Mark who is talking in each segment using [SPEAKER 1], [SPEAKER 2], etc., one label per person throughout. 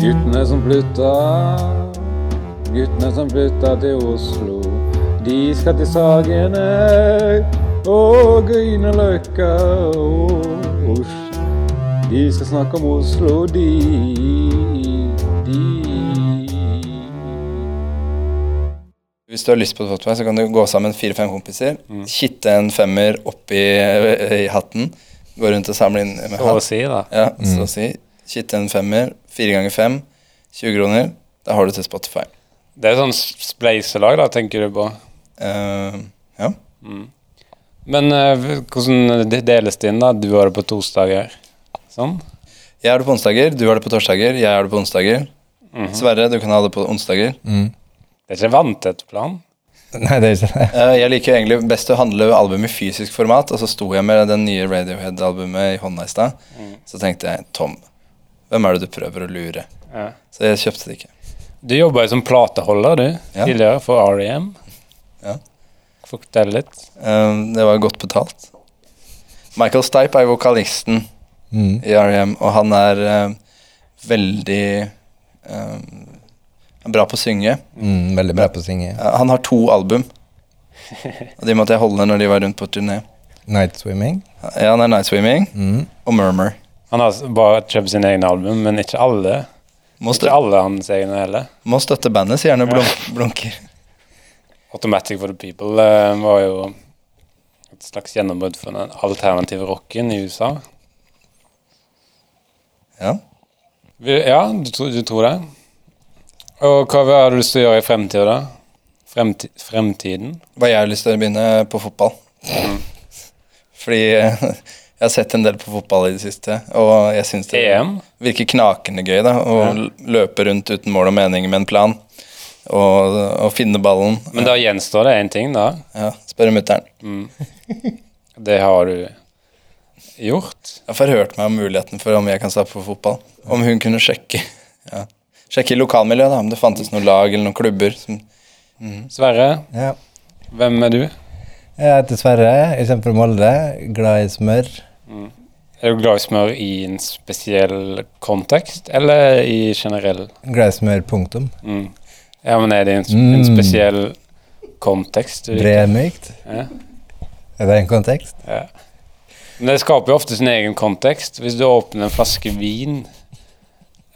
[SPEAKER 1] Guttene som flytta, guttene som flytta til Oslo. De skal til Sagene og Grünerløkka og Oslo. De skal snakke om Oslo, de, de.
[SPEAKER 2] Hvis du har lyst på Spotify, så kan du gå sammen fire-fem kompiser,
[SPEAKER 3] Mm.
[SPEAKER 2] kitte en femmer oppi eh, i hatten, gå rundt og samle inn med
[SPEAKER 3] Så å
[SPEAKER 2] hatt.
[SPEAKER 3] si, da.
[SPEAKER 2] Ja, så å si. Kitte en femmer, fire ganger fem, 20 kroner. Da har du til Spotify.
[SPEAKER 3] Det er sånn spleiselag, da, tenker du på.
[SPEAKER 2] Eh, ja.
[SPEAKER 3] Men eh, hvordan det deles det inn, da? Du har det på torsdager. Sånn?
[SPEAKER 2] Jeg har det på onsdager, du har det på torsdager, jeg har det på onsdager.
[SPEAKER 3] Mhm.
[SPEAKER 2] Sverre, du kan ha det på onsdager.
[SPEAKER 3] Det er ikke vanntett plan.
[SPEAKER 4] Nei, det er ikke det.
[SPEAKER 2] Eh, jeg liker jo egentlig best å handle album i fysisk format, og så sto jeg med den nye Radiohead-albumet i hånda i stad.
[SPEAKER 3] Mm.
[SPEAKER 2] Så tenkte jeg, Tom, hvem er det du prøver å lure?
[SPEAKER 3] Ja.
[SPEAKER 2] Så jeg kjøpte det ikke.
[SPEAKER 3] Du jobba jo som plateholder, du,
[SPEAKER 2] Ja.
[SPEAKER 3] tidligere, for REM.
[SPEAKER 2] Ja.
[SPEAKER 3] Fortell litt.
[SPEAKER 2] Eh, det var godt betalt. Michael Stipe er vokalisten
[SPEAKER 4] Mm.
[SPEAKER 2] i R.E.M., og han er eh, veldig eh, bra på å synge.
[SPEAKER 4] Mm, veldig bra på å synge.
[SPEAKER 2] Eh, han har to album, og de måtte jeg holde når de var rundt på turné.
[SPEAKER 4] Night Swimming.
[SPEAKER 2] Ja, han er Night Swimming
[SPEAKER 4] Mm.
[SPEAKER 2] og Murmur.
[SPEAKER 3] Han har s- bare kjøpt sine egne album, men ikke alle.
[SPEAKER 2] Må,
[SPEAKER 3] Ikke
[SPEAKER 2] stø
[SPEAKER 3] alle hans egne heller.
[SPEAKER 2] må støtte bandet, sier han og blunk blunker.
[SPEAKER 3] Automatic for the People eh, var jo et slags gjennombrudd for den alternative rocken i USA.
[SPEAKER 2] Ja.
[SPEAKER 3] Vi- Ja, du, tro- du tror det? Og hva har du lyst til å gjøre i fremtiden, da? Fremti fremtiden?
[SPEAKER 2] Hva jeg har lyst til å begynne på fotball. Fordi eh, jeg har sett en del på fotball i det siste, og jeg syns det
[SPEAKER 3] EM?
[SPEAKER 2] virker knakende gøy da, å l- løpe rundt uten mål og mening med en plan. Og, og finne ballen.
[SPEAKER 3] Men da gjenstår det én ting, da.
[SPEAKER 2] Ja, Spørre mutter'n.
[SPEAKER 3] Det har du gjort.
[SPEAKER 2] Jeg har hørt meg om muligheten for om jeg kan starte på fotball. Om hun kunne sjekke ja. Sjekke i lokalmiljøet, da, om det fantes noen lag eller noen klubber. Som,
[SPEAKER 3] Sverre,
[SPEAKER 4] Ja.
[SPEAKER 3] hvem er du?
[SPEAKER 4] Jeg heter Sverre, jeg kommer fra Molde. Glad i smør.
[SPEAKER 3] Er du glad i smør i en spesiell kontekst, eller i generell?
[SPEAKER 4] Glad i smør, punktum.
[SPEAKER 3] Mm. Ja, men er det en, s-
[SPEAKER 4] Mm.
[SPEAKER 3] en spesiell kontekst? du liker?
[SPEAKER 4] Bremykt.
[SPEAKER 3] Ja.
[SPEAKER 4] Er det en kontekst?
[SPEAKER 3] Ja. Men det skaper jo ofte sin egen kontekst. Hvis du åpner en flaske vin,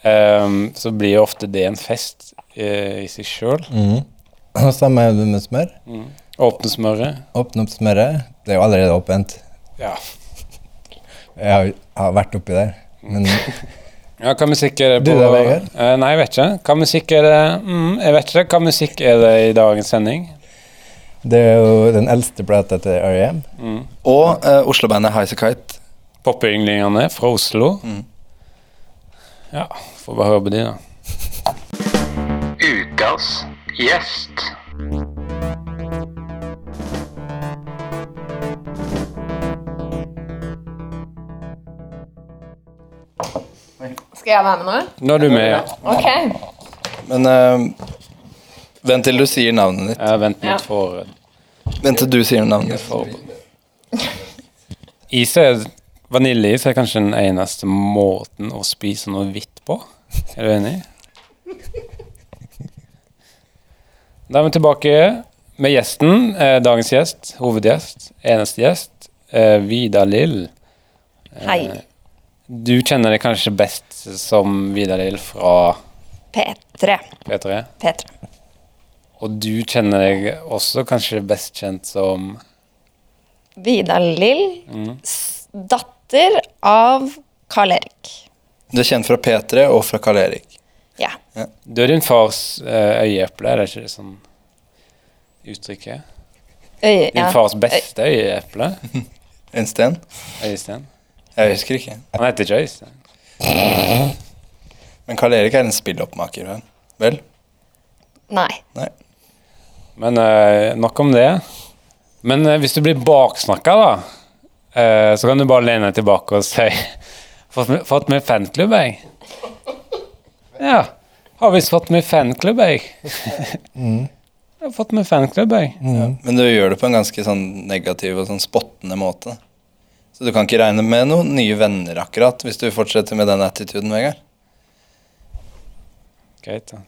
[SPEAKER 3] ehm, så blir jo ofte det en fest eh, i seg sjøl.
[SPEAKER 4] Mm. Og samme er det med smør.
[SPEAKER 3] Mm. Åpne smøret.
[SPEAKER 4] Åpne opp smøret. Det er jo allerede åpent.
[SPEAKER 3] Ja.
[SPEAKER 4] Jeg har, har vært oppi der. Men
[SPEAKER 3] Ja, hva musikk er det
[SPEAKER 4] Du
[SPEAKER 3] på
[SPEAKER 4] da, Vegard?
[SPEAKER 3] Eh, nei, jeg vet ikke. Hva musikk er det mm, Jeg vet ikke. Hva musikk er det i dagens sending?
[SPEAKER 4] det er jo den eldste plata til E R.E.M.
[SPEAKER 2] og eh, Oslo-bandet Highasakite.
[SPEAKER 3] Poppynglingene fra Oslo. Ja, får bare høre på de, da.
[SPEAKER 5] Ukas gjest.
[SPEAKER 6] Skal jeg være med nå?
[SPEAKER 3] Nå er du med. ja.
[SPEAKER 6] Ok.
[SPEAKER 2] Men eh, vent til du sier navnet ditt.
[SPEAKER 3] Eh, vent
[SPEAKER 6] Ja.
[SPEAKER 3] litt for
[SPEAKER 2] Vent til du sier navnet ditt.
[SPEAKER 3] Is er Vaniljeis er kanskje den eneste måten å spise noe hvitt på. Er du enig? Da er vi tilbake med gjesten. Eh, dagens gjest, hovedgjest, eneste gjest, eh, Vidar Lill.
[SPEAKER 7] Hei.
[SPEAKER 3] Du kjenner deg kanskje best som Vidar Lill fra
[SPEAKER 7] P3.
[SPEAKER 3] P3.
[SPEAKER 7] P3.
[SPEAKER 3] Og du kjenner deg også kanskje best kjent som
[SPEAKER 7] Vidar Lill,
[SPEAKER 3] Mm.
[SPEAKER 7] s- datter av Karl Erik.
[SPEAKER 2] Du er kjent fra P3 og fra Karl Erik.
[SPEAKER 7] Ja.
[SPEAKER 3] Du er din fars eh, øyeeple, er det ikke det sånn uttrykket?
[SPEAKER 7] Øy,
[SPEAKER 3] Din
[SPEAKER 7] ja.
[SPEAKER 3] fars beste øyeeple?
[SPEAKER 2] Øystein?
[SPEAKER 3] Øystein?
[SPEAKER 2] Jeg husker ikke.
[SPEAKER 3] Han heter ikke Øystein.
[SPEAKER 2] Men Karl Erik er en spilloppmaker, vel? vel?
[SPEAKER 7] Nei.
[SPEAKER 2] Nei.
[SPEAKER 3] Men eh, nok om det. Men eh, hvis du blir baksnakka, da, eh, så kan du bare lene deg tilbake og si Fått meg- fått meg fanklubb, jeg. Ja. Har visst fått meg fanklubb, jeg. Jeg har fått meg fanklubb, jeg.
[SPEAKER 4] Mm.
[SPEAKER 2] Men du gjør det på en ganske sånn negativ og sånn spottende måte. Så du kan ikke regne med noen nye venner akkurat hvis du fortsetter med den attituden, Vegard.
[SPEAKER 3] Greit, da.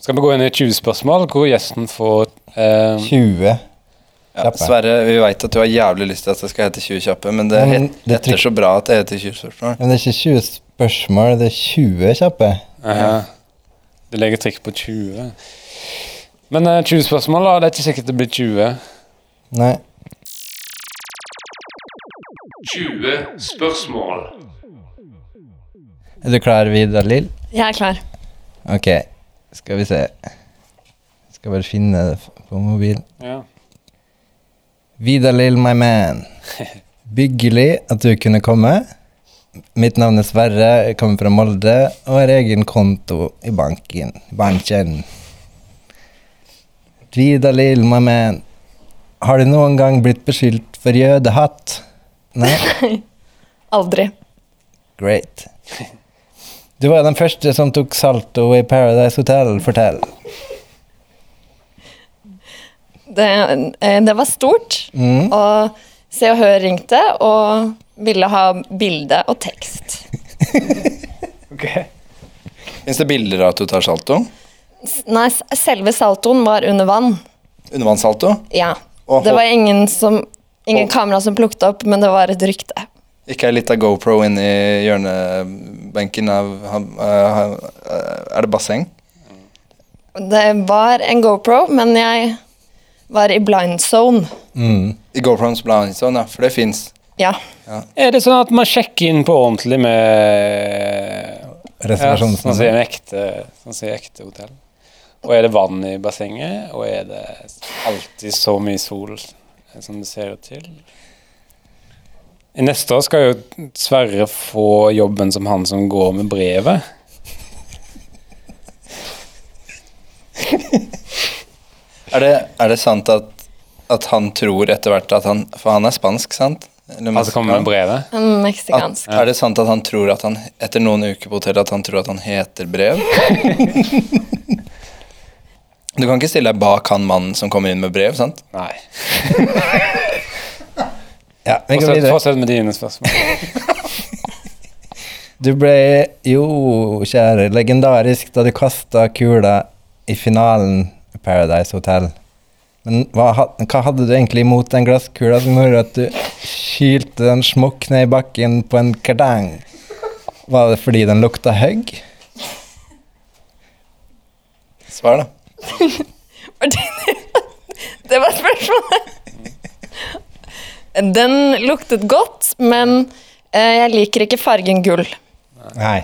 [SPEAKER 3] Skal vi gå inn i 20 spørsmål, hvor gjesten får eh,
[SPEAKER 4] 20.
[SPEAKER 2] Ja,
[SPEAKER 4] Kjappe.
[SPEAKER 2] Sverre, vi veit at du har jævlig lyst til at det skal hete 20 kjappe, men det
[SPEAKER 4] Ja, men
[SPEAKER 2] het-
[SPEAKER 4] det
[SPEAKER 2] heter
[SPEAKER 4] tryk-
[SPEAKER 2] så bra at det heter 20 spørsmål.
[SPEAKER 4] Men det er ikke 20 spørsmål, det er 20 kjappe.
[SPEAKER 3] eh, Det legger trykk på 20. Men eh, 20 spørsmål, da. Det er ikke sikkert det blir 20.
[SPEAKER 4] Nei.
[SPEAKER 8] 20 spørsmål.
[SPEAKER 4] Er du klar, Vidar Lill?
[SPEAKER 7] Jeg er klar.
[SPEAKER 4] Ok, skal vi se. Skal bare finne det f- på mobil.
[SPEAKER 3] Ja.
[SPEAKER 4] Vidar Lill, my man. Byggelig at du kunne komme. Mitt navn er Sverre, jeg kommer fra Molde og har egen konto i banken. Banken. Vidar Lill, my man. Har du noen gang blitt beskyldt for jødehatt? Nei?
[SPEAKER 7] Aldri.
[SPEAKER 4] Great. Du var den første som tok salto i Paradise Hotel. Fortell.
[SPEAKER 7] Det, eh, det var stort,
[SPEAKER 4] Mm.
[SPEAKER 7] og Se og Hør ringte og ville ha bilde og tekst.
[SPEAKER 2] Fins det bilder av at du tar salto?
[SPEAKER 7] S- Nei, s- selve saltoen var under vann.
[SPEAKER 2] Undervannssalto?
[SPEAKER 7] Ja.
[SPEAKER 2] Og
[SPEAKER 7] Det
[SPEAKER 2] hold-
[SPEAKER 7] var ingen, som, ingen kamera som plukket opp, men det var et rykte.
[SPEAKER 2] Ikke ei lita GoPro inni hjørnebenken av ham- eh, ham- eh, Er det basseng?
[SPEAKER 7] Det var en GoPro, men jeg var i blind zone.
[SPEAKER 4] Mm.
[SPEAKER 2] I GoProen som ble sånn, ja, for det fins.
[SPEAKER 7] Ja.
[SPEAKER 3] Er det sånn at man sjekker inn på ordentlig med ja, Sånn som
[SPEAKER 4] Reservasjonsnummer.
[SPEAKER 3] en ekte, sånn som i ekte hotell. Og er det vann i bassenget, og er det alltid så mye sol eh, som det ser ut til? I neste år skal jo Sverre få jobben som han som går med brevet.
[SPEAKER 2] Er det, er det sant at, at han tror etter hvert at han For han er spansk, sant? Eller
[SPEAKER 3] Han som kommer med brevet.
[SPEAKER 7] en
[SPEAKER 2] at,
[SPEAKER 7] Meksikansk.
[SPEAKER 2] er det sant at han tror at han etter noen uker på hotellet at han tror at han heter brev? Du kan ikke stille deg bak han mannen som kommer inn med brev, sant?
[SPEAKER 3] Nei.
[SPEAKER 4] Ja, vi går
[SPEAKER 3] Fortsett,
[SPEAKER 4] videre.
[SPEAKER 3] fortsett med dine spørsmål.
[SPEAKER 4] Du ble jo, kjære, legendarisk da du kasta kula i finalen i Paradise Hotel. Men hva, ha- hva hadde du egentlig imot den glasskula som gjorde at du kylte den smokk ned i bakken på en kardang? Var det fordi den lukta høgg?
[SPEAKER 2] Svar, da.
[SPEAKER 7] Det var spørsmålet. Den luktet godt, men eh, jeg liker ikke fargen gull.
[SPEAKER 4] Nei.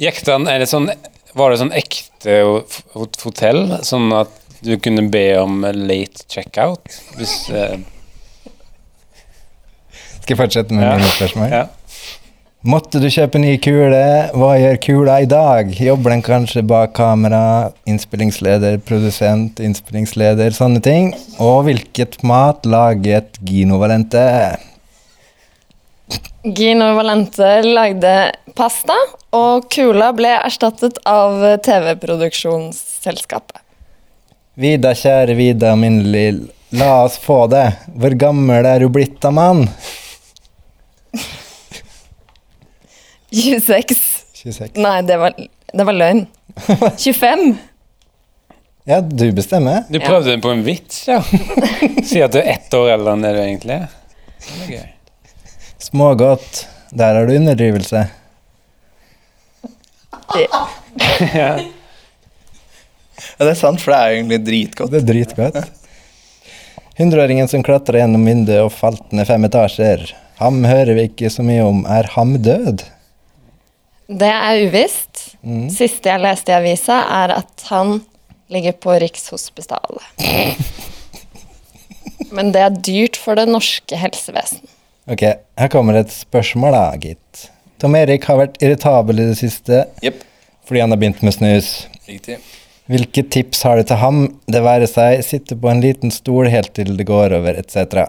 [SPEAKER 3] Gikk den, er det sånn, var det sånn ekte ho- ho- hotell, sånn at du kunne be om late checkout? Hvis, eh,
[SPEAKER 4] Skal jeg fortsette med
[SPEAKER 3] Ja.
[SPEAKER 4] mine spørsmål?
[SPEAKER 3] ja.
[SPEAKER 4] Måtte du kjøpe ny kule? Hva gjør kula i dag? Jobber den kanskje bak kamera, innspillingsleder, produsent, innspillingsleder, sånne ting? Og hvilket mat laget Gino Valente?
[SPEAKER 7] Gino Valente lagde pasta, og kula ble erstattet av TV-produksjonsselskapet.
[SPEAKER 4] Vida, kjære Vida, min lill, la oss få det. Hvor gammel er du blitt da, mann?
[SPEAKER 7] 26.
[SPEAKER 4] 26.
[SPEAKER 7] Nei, det var, det var løgn. 25.
[SPEAKER 4] Ja, du bestemmer.
[SPEAKER 3] Du prøvde den på en vits, ja. Si at du er ett år eldre enn det du egentlig er. Det er gøy.
[SPEAKER 4] Smågodt. Der har du underdrivelse.
[SPEAKER 2] Ja, det er sant, for det er jo egentlig dritgodt.
[SPEAKER 4] Det er dritgodt. Hundreåringen som klatra gjennom vinduet og falt ned fem etasjer. Ham hører vi ikke så mye om. Er ham død?
[SPEAKER 7] Det er uvisst. Siste jeg leste i avisa, er at han ligger på Rikshospitalet. Men det er dyrt for det norske helsevesenet.
[SPEAKER 4] Ok, her kommer et spørsmål da, gitt. Tom Erik har vært irritabel i det siste
[SPEAKER 2] Jepp.
[SPEAKER 4] fordi han har begynt med snus.
[SPEAKER 2] Riktig.
[SPEAKER 4] Hvilke tips har du til ham? Det være seg sitte på en liten stol helt til det går over, etc.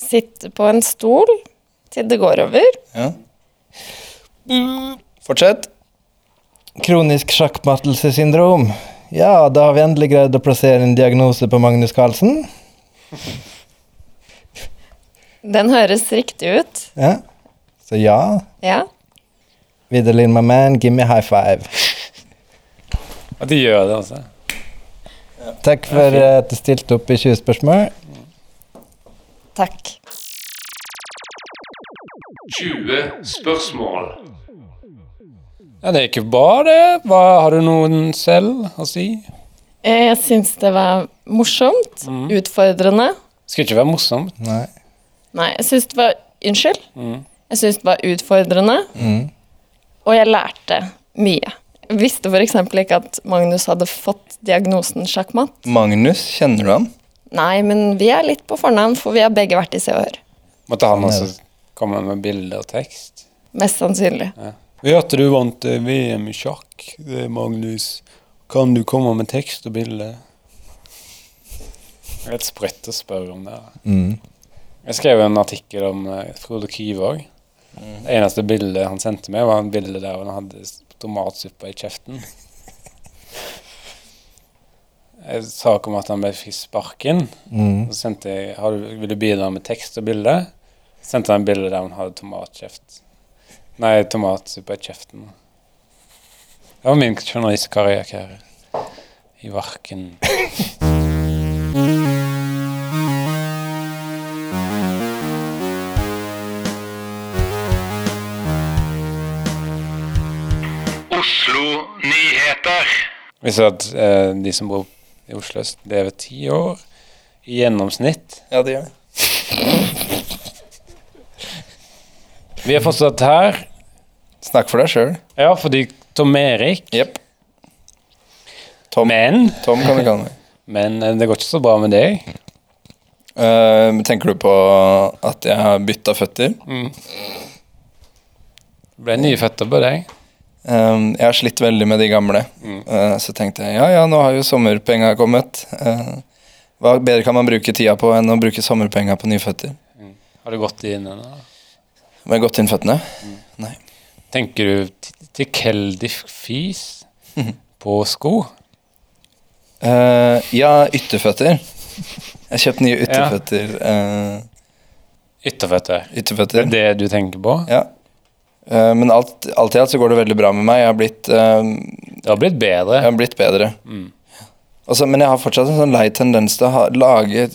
[SPEAKER 7] Sitte på en stol til det går over.
[SPEAKER 2] Ja. Fortsett.
[SPEAKER 4] Kronisk sjakkmattelsessyndrom. Ja, da har vi endelig greid å plassere en diagnose på Magnus Carlsen.
[SPEAKER 7] Den høres riktig ut.
[SPEAKER 4] Ja. Så ja,
[SPEAKER 7] Ja.
[SPEAKER 4] Vidar Lill, my man, give me high five.
[SPEAKER 3] At de gjør det, altså.
[SPEAKER 4] Takk for eh, at du stilte opp i 20 spørsmål.
[SPEAKER 7] Takk.
[SPEAKER 8] 20 spørsmål.
[SPEAKER 3] Ja, det gikk jo bra, det. Hva, har du noen selv å si?
[SPEAKER 7] Eh, Jeg syns det var morsomt. Utfordrende.
[SPEAKER 3] Skulle ikke være morsomt.
[SPEAKER 4] Nei.
[SPEAKER 7] Nei, jeg syns det var Unnskyld. Jeg syns det var utfordrende. Og jeg lærte mye. Jeg visste f.eks. ikke at Magnus hadde fått diagnosen sjakkmatt.
[SPEAKER 2] Magnus, kjenner du han?
[SPEAKER 7] Nei, men vi er litt på fornavn, for vi har begge vært i Se og Hør.
[SPEAKER 3] Måtte han også komme med bilder og tekst.
[SPEAKER 7] Mest sannsynlig.
[SPEAKER 3] Vi hørte du vant eh, VM i sjakk, eh, Magnus. Kan du komme med tekst og bilde? Det er litt sprøtt å spørre om det. da. Jeg skrev en artikkel om eh, Frode Kyvåg. Det eneste bildet han sendte meg, var en bilde der han hadde s- tomatsuppa i kjeften. En sak om at han ble fikk sparken. Så sendte jeg har du, 'Vil du bidra med tekst og bilde?' sendte han bilde der han hadde tomatkjeft. Nei, tomatsuppe i kjeften. Det var min journalistkarriere i Varken.
[SPEAKER 5] Oslo nyheter.
[SPEAKER 3] Vi ser at eh, de som bor i Oslo øst, lever ti år i gjennomsnitt.
[SPEAKER 2] Ja, det gjør det.
[SPEAKER 3] Vi er fortsatt her,
[SPEAKER 2] Snakk for deg sjøl.
[SPEAKER 3] ja, fordi Tom Erik
[SPEAKER 2] Jepp. Tom,
[SPEAKER 3] Men,
[SPEAKER 2] Tom kan du kalle meg.
[SPEAKER 3] men eh, det går ikke så bra med deg.
[SPEAKER 2] Eh, tenker du på at jeg har bytta føtter?
[SPEAKER 3] Det ble nye føtter på deg.
[SPEAKER 2] Um, jeg har slitt veldig med de gamle.
[SPEAKER 3] Mm.
[SPEAKER 2] Uh, så tenkte jeg ja, ja, nå har jo sommerpenga kommet. Uh, hva bedre kan man bruke tida på enn å bruke sommerpenga på nyføtter?
[SPEAKER 3] Har du gått inn ennå?
[SPEAKER 2] Må jeg gått inn føttene? Nei.
[SPEAKER 3] Tenker du t- tilfeldig fis på sko?
[SPEAKER 2] Uh, ja, ytterføtter. Jeg har kjøpt nye
[SPEAKER 3] Ja.
[SPEAKER 2] ytterføtter. Uh,
[SPEAKER 3] Ytterføtter. Det
[SPEAKER 2] ytterføtter.
[SPEAKER 3] er det du tenker på?
[SPEAKER 2] Ja. Uh, men alt, alt i alt så går det veldig bra med meg. Jeg har blitt, um,
[SPEAKER 3] Det har blitt bedre.
[SPEAKER 2] jeg har blitt bedre.
[SPEAKER 3] Mm.
[SPEAKER 2] Og så- men jeg har fortsatt en sånn lei tendens til å ha, lage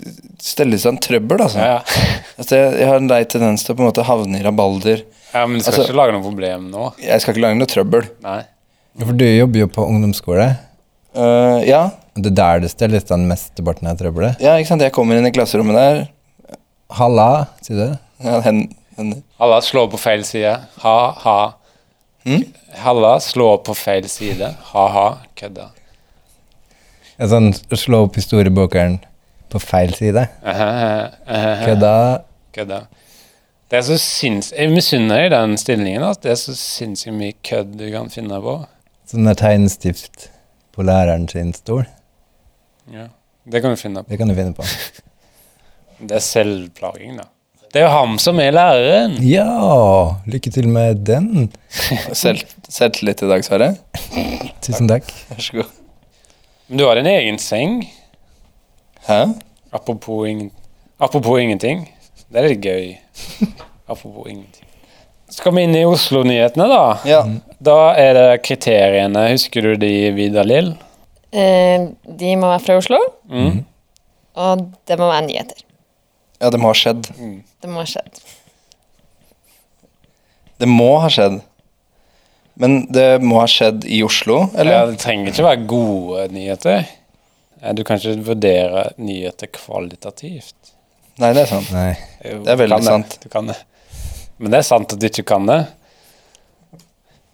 [SPEAKER 2] Stelle i stand trøbbel, altså.
[SPEAKER 3] Ja, ja.
[SPEAKER 2] Altså, jeg, jeg har en lei tendens til å på en måte havne i rabalder.
[SPEAKER 3] ja men du skal
[SPEAKER 2] Altså-
[SPEAKER 3] ikke lage noe problem nå.
[SPEAKER 2] Jeg skal ikke lage noe trøbbel.
[SPEAKER 3] Nei.
[SPEAKER 4] For du jobber jo på ungdomsskole.
[SPEAKER 2] Eh, ja,
[SPEAKER 4] og Det er der du stiller den mesteparten av trøbbelet.
[SPEAKER 2] ja, ikke sant. Jeg kommer inn i klasserommet der.
[SPEAKER 4] Halla, sier du.
[SPEAKER 2] Ja, hen, hen,
[SPEAKER 3] Halla slår på feil side. Ha, ha. Halla slår på feil side. Ha, ha. Kødda.
[SPEAKER 4] En sånn slå opp historiebokeren på feil side. Kødda.
[SPEAKER 3] Kødda. Det er så sinns... Jeg misunner deg den stillingen. Altså. Det er så sinnssykt mye kødd du kan finne på.
[SPEAKER 4] Sånn der tegnestift på læreren sin stol.
[SPEAKER 3] Ja. Det kan du finne på.
[SPEAKER 4] Det kan du finne på.
[SPEAKER 3] Det er selvplaging, da. Det er jo ham som er læreren.
[SPEAKER 4] Ja! Lykke til med den.
[SPEAKER 2] selv, selvtillit i dag, Sverre.
[SPEAKER 4] Tusen takk.
[SPEAKER 2] Vær så god.
[SPEAKER 3] Men du har din egen seng.
[SPEAKER 2] Hæ?
[SPEAKER 3] Apropos, ingen, apropos ingenting. Det er litt gøy. Apropos ingenting. Skal vi inn i Oslo-nyhetene, da?
[SPEAKER 2] Ja.
[SPEAKER 3] Da er det kriteriene. Husker du de, Vidar Lill?
[SPEAKER 7] Eh, de må være fra Oslo, og det må være nyheter.
[SPEAKER 2] ja, det må ha skjedd.
[SPEAKER 7] Det må ha skjedd.
[SPEAKER 2] Det må ha skjedd. Men det må ha skjedd i Oslo,
[SPEAKER 3] Ja,
[SPEAKER 2] eller?
[SPEAKER 3] det trenger ikke være gode nyheter. Eh, Du kan ikke vurdere nyheter kvalitativt.
[SPEAKER 2] Nei, det er sant.
[SPEAKER 4] Nei.
[SPEAKER 3] Jo,
[SPEAKER 2] Det er
[SPEAKER 3] du
[SPEAKER 2] veldig
[SPEAKER 3] kan
[SPEAKER 2] sant.
[SPEAKER 3] Du kan det. Men det er sant at du ikke kan det.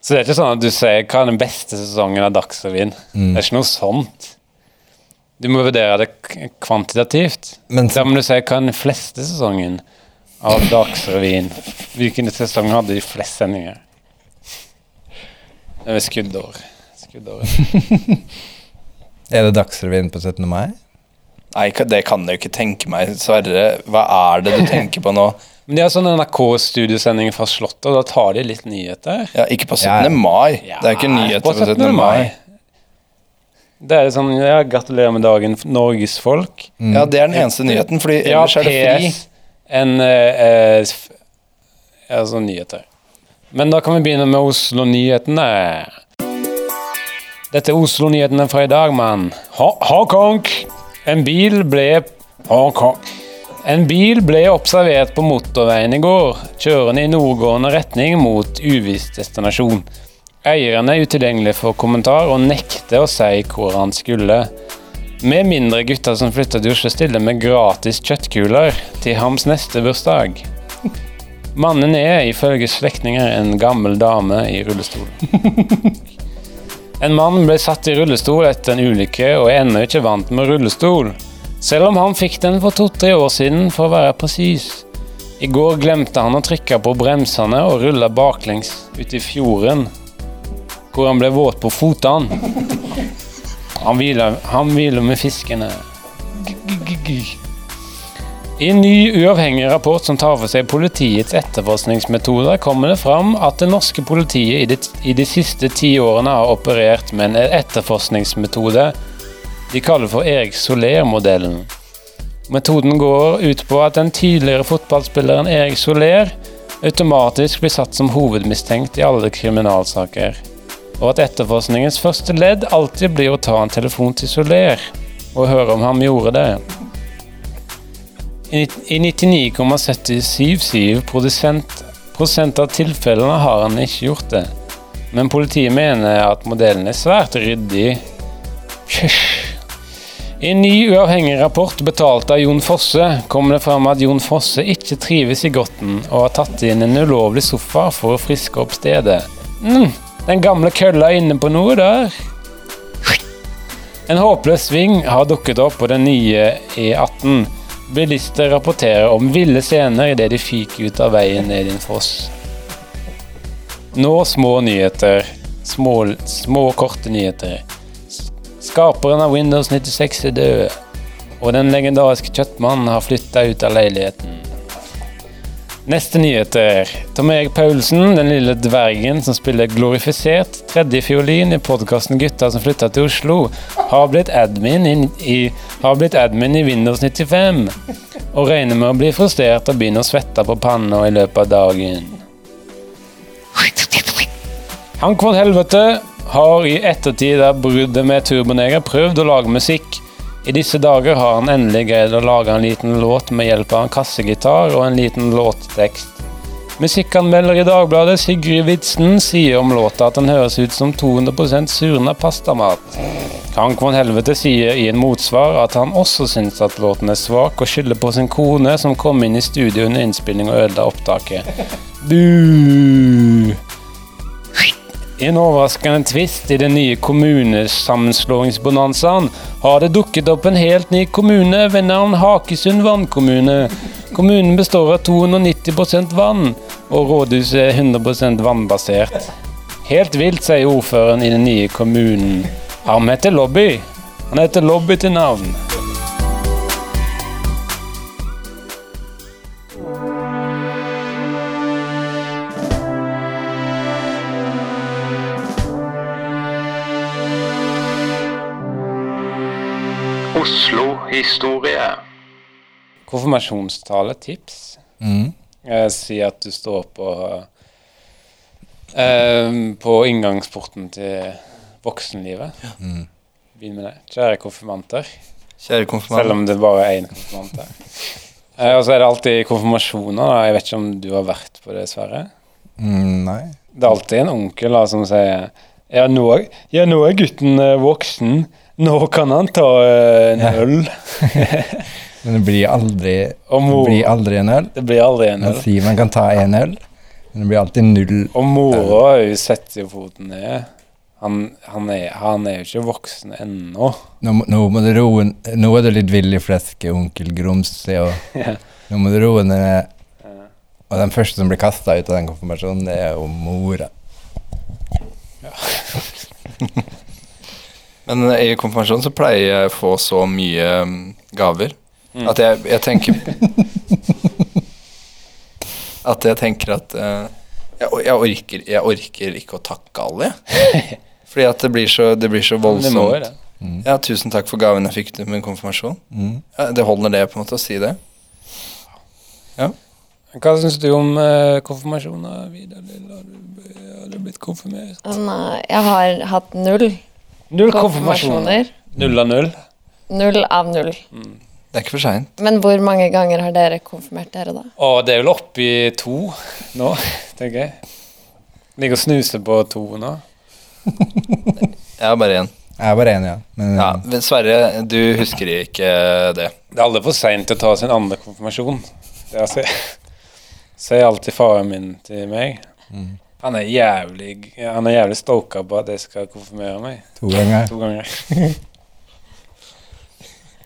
[SPEAKER 3] Så det er ikke sånn at du sier 'hva er den beste sesongen av Dagsrevyen'?
[SPEAKER 2] Mm.
[SPEAKER 3] Det er ikke noe sånt. Du må vurdere det k- kvantitativt.
[SPEAKER 4] Men-
[SPEAKER 3] da må du si 'hva er den fleste sesongen av Dagsrevyen'? Hvilken sesong hadde de flest sendinger? Det er ved skuddår. Skuddåret.
[SPEAKER 4] Er det Dagsrevyen på 17. mai?
[SPEAKER 2] Nei, ka- det kan jeg jo ikke tenke meg. Sverre, hva er det du tenker på nå?
[SPEAKER 3] Men de har sånn NRK-studiosending fra Slottet, og da tar de litt nyheter.
[SPEAKER 2] Ja, ikke på 17.
[SPEAKER 4] Ja, ja.
[SPEAKER 2] mai. Det er ikke nyheter
[SPEAKER 3] på 17. mai. Det er sånn ja, 'Gratulerer med dagen, Norges folk'.
[SPEAKER 2] Ja, det er den eneste nyheten, fordi
[SPEAKER 3] Ja,
[SPEAKER 2] ellers er det fri.
[SPEAKER 3] PS. En eh, eh, f- ja, sånn altså, nyheter. Men da kan vi begynne med Oslo-nyhetene. Dette er Oslo-nyhetene fra i dag, mann. Ha- Hongkong! En bil ble Hongkong. En bil ble observert på motorveien i går, kjørende i nordgående retning mot uviss destinasjon. Eieren er utilgjengelig for kommentar og nekter å si hvor han skulle. Med mindre gutter som flytter til Oslo stiller med gratis kjøttkuler til hans neste bursdag. Mannen er ifølge slektninger en gammel dame i rullestol. En mann ble satt i rullestol etter en ulykke og er ennå ikke vant med rullestol. Selv om han fikk den for to-tre år siden, for å være presis. I går glemte han å trykke på bremsene og rulla baklengs ut i fjorden, hvor han ble våt på fotene. Han hviler, han hviler med fiskene. G-g-g-g. I en ny uavhengig rapport som tar for seg politiets etterforskningsmetoder, kommer det fram at det norske politiet i de, i de siste ti årene har operert med en etterforskningsmetode de kaller for Erik Soler-modellen. Metoden går ut på at den tidligere fotballspilleren Erik Soler automatisk blir satt som hovedmistenkt i alle kriminalsaker, og at etterforskningens første ledd alltid blir å ta en telefon til Soler og høre om han gjorde det. I i 99,77 prosent- prosent av tilfellene har han ikke gjort det. Men politiet mener at modellen er svært ryddig. Kjøsj. I en ny uavhengig rapport betalt av Jon Fosse kommer det fram at Jon Fosse ikke trives i Grotten og har tatt inn en ulovlig sofa for å friske opp stedet. Mm, den gamle kølla er inne på noe der. En håpløs sving har dukket opp på den nye E18. Bilister rapporterer om ville scener idet de fyker ut av veien ned i en foss. Nå små nyheter. Små, små korte nyheter. S- Skaperen av Windows 96 er død, og den legendariske kjøttmannen har flytta ut av leiligheten. Neste nyheter. Tom Erik Paulsen, den lille dvergen som spiller glorifisert tredjefiolin i podkasten 'Gutta som flytta til Oslo', har blitt admin i, i, har blitt admin i Windows 95 og regner med å bli frustrert og begynne å svette på panna i løpet av dagen. Hank von Helvete har i ettertid av bruddet med Turboneger prøvd å lage musikk. I disse dager har han endelig greid å lage en liten låt med hjelp av en kassegitar og en liten låttekst. Musikkanmelder i Dagbladet Sigrid Witzen sier om låta at den høres ut som 200 surna pastamat. Hank von Helvete sier i en motsvar at han også syns at låten er svak, og skylder på sin kone som kom inn i studio under innspilling og ødela opptaket. Buh! I en overraskende tvist i den nye kommunesammenslåingsbonanzaen har det dukket opp en helt ny kommune ved navn Hakesund vannkommune. Kommunen består av 290 vann, og rådhuset er 100 vannbasert. Helt vilt, sier ordføreren i den nye kommunen. Han heter Lobby. Han heter Lobby til navn.
[SPEAKER 5] Oslo historie.
[SPEAKER 3] Konfirmasjonstale, tips.
[SPEAKER 4] Mm.
[SPEAKER 3] Eh, Si at du står på eh, På inngangsporten til voksenlivet.
[SPEAKER 4] Mm.
[SPEAKER 3] Begynn med det. Kjære konfirmanter.
[SPEAKER 2] Kjære
[SPEAKER 3] Selv
[SPEAKER 2] konfirmant.
[SPEAKER 3] om det bare er én konfirmant der. Eh, og så er det alltid konfirmasjoner. Da. Jeg vet ikke om du har vært på det, Sverre.
[SPEAKER 4] Mm, nei.
[SPEAKER 3] Det er alltid en onkel da, som sier ja nå, er- ja, nå er gutten eh, voksen. Nå kan han ta eh, en øl.
[SPEAKER 4] Men det blir aldri,
[SPEAKER 3] Og
[SPEAKER 4] det
[SPEAKER 2] Oh.
[SPEAKER 3] mor,
[SPEAKER 4] blir aldri en øl.
[SPEAKER 3] det blir aldri en
[SPEAKER 4] Man
[SPEAKER 3] øl.
[SPEAKER 4] sier man kan ta en øl, men det blir alltid null.
[SPEAKER 3] Og mora hun setter jo foten ned. Han, han, er, han er jo ikke voksen ennå.
[SPEAKER 4] Nå, må- nå må du roe n- Nå er du litt vill i flesket, onkel Grumse, og
[SPEAKER 3] Ja.
[SPEAKER 4] nå må du roe ned. Og den første som blir kasta ut av den konfirmasjonen, det er jo mora.
[SPEAKER 2] Men eh, i konfirmasjonen så pleier jeg å få så mye mm, gaver at jeg, jeg tenker At jeg tenker at eh, jeg, or- jeg, orker, jeg orker ikke å takke alle, jeg. Fordi at det blir så, det blir så
[SPEAKER 3] Men Det må jo
[SPEAKER 2] voldsomt.
[SPEAKER 3] det.
[SPEAKER 2] Ja, tusen takk for gaven jeg fikk til min konfirmasjon. Ja, det holder det på en måte å si det.
[SPEAKER 3] Hva syns du om eh, konfirmasjoner, Vidar? Lill? Har du, har du blitt konfirmert?
[SPEAKER 7] Nei, jeg har hatt null
[SPEAKER 3] Null konfirmasjoner.
[SPEAKER 7] konfirmasjoner.
[SPEAKER 3] Null av null.
[SPEAKER 7] Null av null.
[SPEAKER 2] Det er ikke for seint.
[SPEAKER 7] Men hvor mange ganger har dere konfirmert dere, da?
[SPEAKER 3] Og det er vel oppe i to nå, tenker jeg. Ligger og snuser på to nå.
[SPEAKER 2] Jeg har bare én.
[SPEAKER 4] Jeg var enig, ja. Men
[SPEAKER 2] Ja, men Sverre, du husker ikke det.
[SPEAKER 3] Det er aldri for seint å ta sin andre konfirmasjon. Det er altså, sier alltid faren min til meg. Han er jævlig Han er jævlig stoka på at jeg skal konfirmere meg
[SPEAKER 4] to ganger.
[SPEAKER 3] to ganger.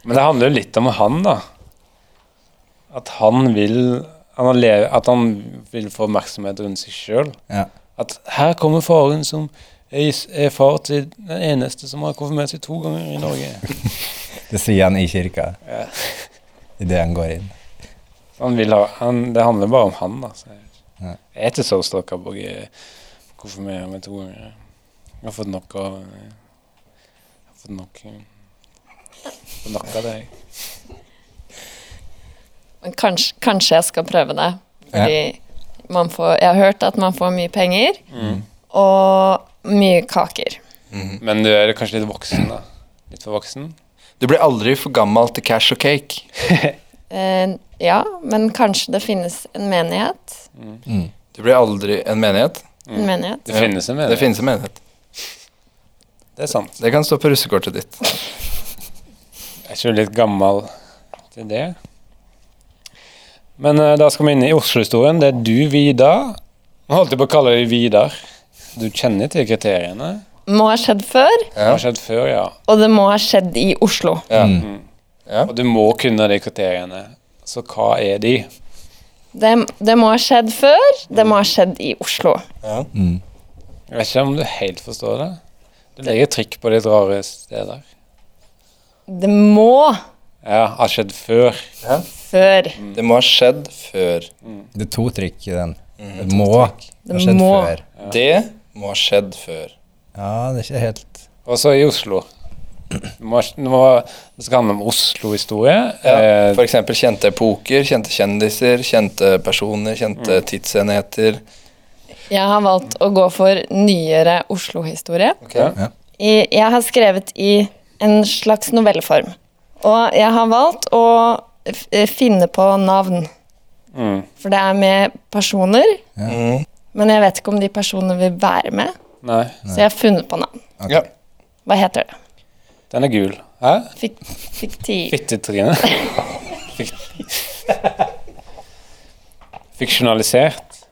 [SPEAKER 3] Men det handler jo litt om han, da. At han vil han har le- At han vil få oppmerksomhet rundt seg sjøl.
[SPEAKER 4] Ja.
[SPEAKER 3] At her kommer faren som er er far til den eneste som har konfirmert seg to ganger i Norge.
[SPEAKER 4] Det sier han i kirka idet han går inn.
[SPEAKER 3] Han vil ha, han, det handler bare om han, da. Så jeg,
[SPEAKER 4] Ja.
[SPEAKER 3] jeg er ikke så stokka på jeg konfirmerer meg to ganger. Jeg har fått nok av Jeg har fått nok, jeg har fått nok av det. jeg.
[SPEAKER 7] Men kanskje, kanskje jeg skal prøve det. Fordi man får, jeg har hørt at man får mye penger og mye kaker.
[SPEAKER 3] Men du er kanskje litt voksen, da. Litt for voksen.
[SPEAKER 2] Du blir aldri for gammel til cash og cake.
[SPEAKER 7] Eh, ja, men kanskje det finnes en menighet.
[SPEAKER 2] Du blir aldri en menighet.
[SPEAKER 7] En menighet.
[SPEAKER 3] Det finnes en
[SPEAKER 2] Det
[SPEAKER 3] mening.
[SPEAKER 2] finnes en menighet.
[SPEAKER 3] Det er sant.
[SPEAKER 2] Det kan stå på russekortet ditt.
[SPEAKER 3] Jeg er ikke litt gammel til det. Men eh, da skal vi inn i Oslo-historien. Det er du, Vidar. Nå holdt jeg på å kalle deg Vidar. Du kjenner til kriteriene.
[SPEAKER 7] Må ha skjedd før,
[SPEAKER 3] Det har skjedd før, ja.
[SPEAKER 7] og det må ha skjedd i Oslo.
[SPEAKER 3] Og du må kunne de kriteriene. Så hva er de?
[SPEAKER 7] Det, det må ha skjedd før, det må ha skjedd i Oslo.
[SPEAKER 3] Jeg vet ikke om du helt forstår det. Du legger trykk på litt rare steder.
[SPEAKER 7] Det må
[SPEAKER 3] Ja, har skjedd før.
[SPEAKER 7] før.
[SPEAKER 2] Det må ha skjedd før.
[SPEAKER 4] Det er to trykk i den.
[SPEAKER 2] Mhm.
[SPEAKER 4] Det må. Det har skjedd
[SPEAKER 7] må.
[SPEAKER 4] før.
[SPEAKER 2] Det må ha skjedd før.
[SPEAKER 4] Ja, det er ikke helt
[SPEAKER 3] Og så i Oslo. Du må, du må, det skal handle om Oslo-historie.
[SPEAKER 2] Ja,
[SPEAKER 3] Eh,
[SPEAKER 2] for eksempel kjente epoker, kjente kjendiser, kjente personer, kjente tidsenheter.
[SPEAKER 7] Jeg har valgt å gå for nyere Oslo-historie.
[SPEAKER 2] Ja.
[SPEAKER 7] I- Jeg har skrevet i en slags novelleform. Og jeg har valgt å f- eh, finne på navn. For det er med personer. Men jeg vet ikke om de personene vil være med,
[SPEAKER 3] Nei,
[SPEAKER 7] så jeg har funnet på navn.
[SPEAKER 2] Ja.
[SPEAKER 7] Hva heter det?
[SPEAKER 3] den er gul. Hæ?
[SPEAKER 7] Fik fiktiv.
[SPEAKER 3] Fittetrine. Fik Fiksjonalisert.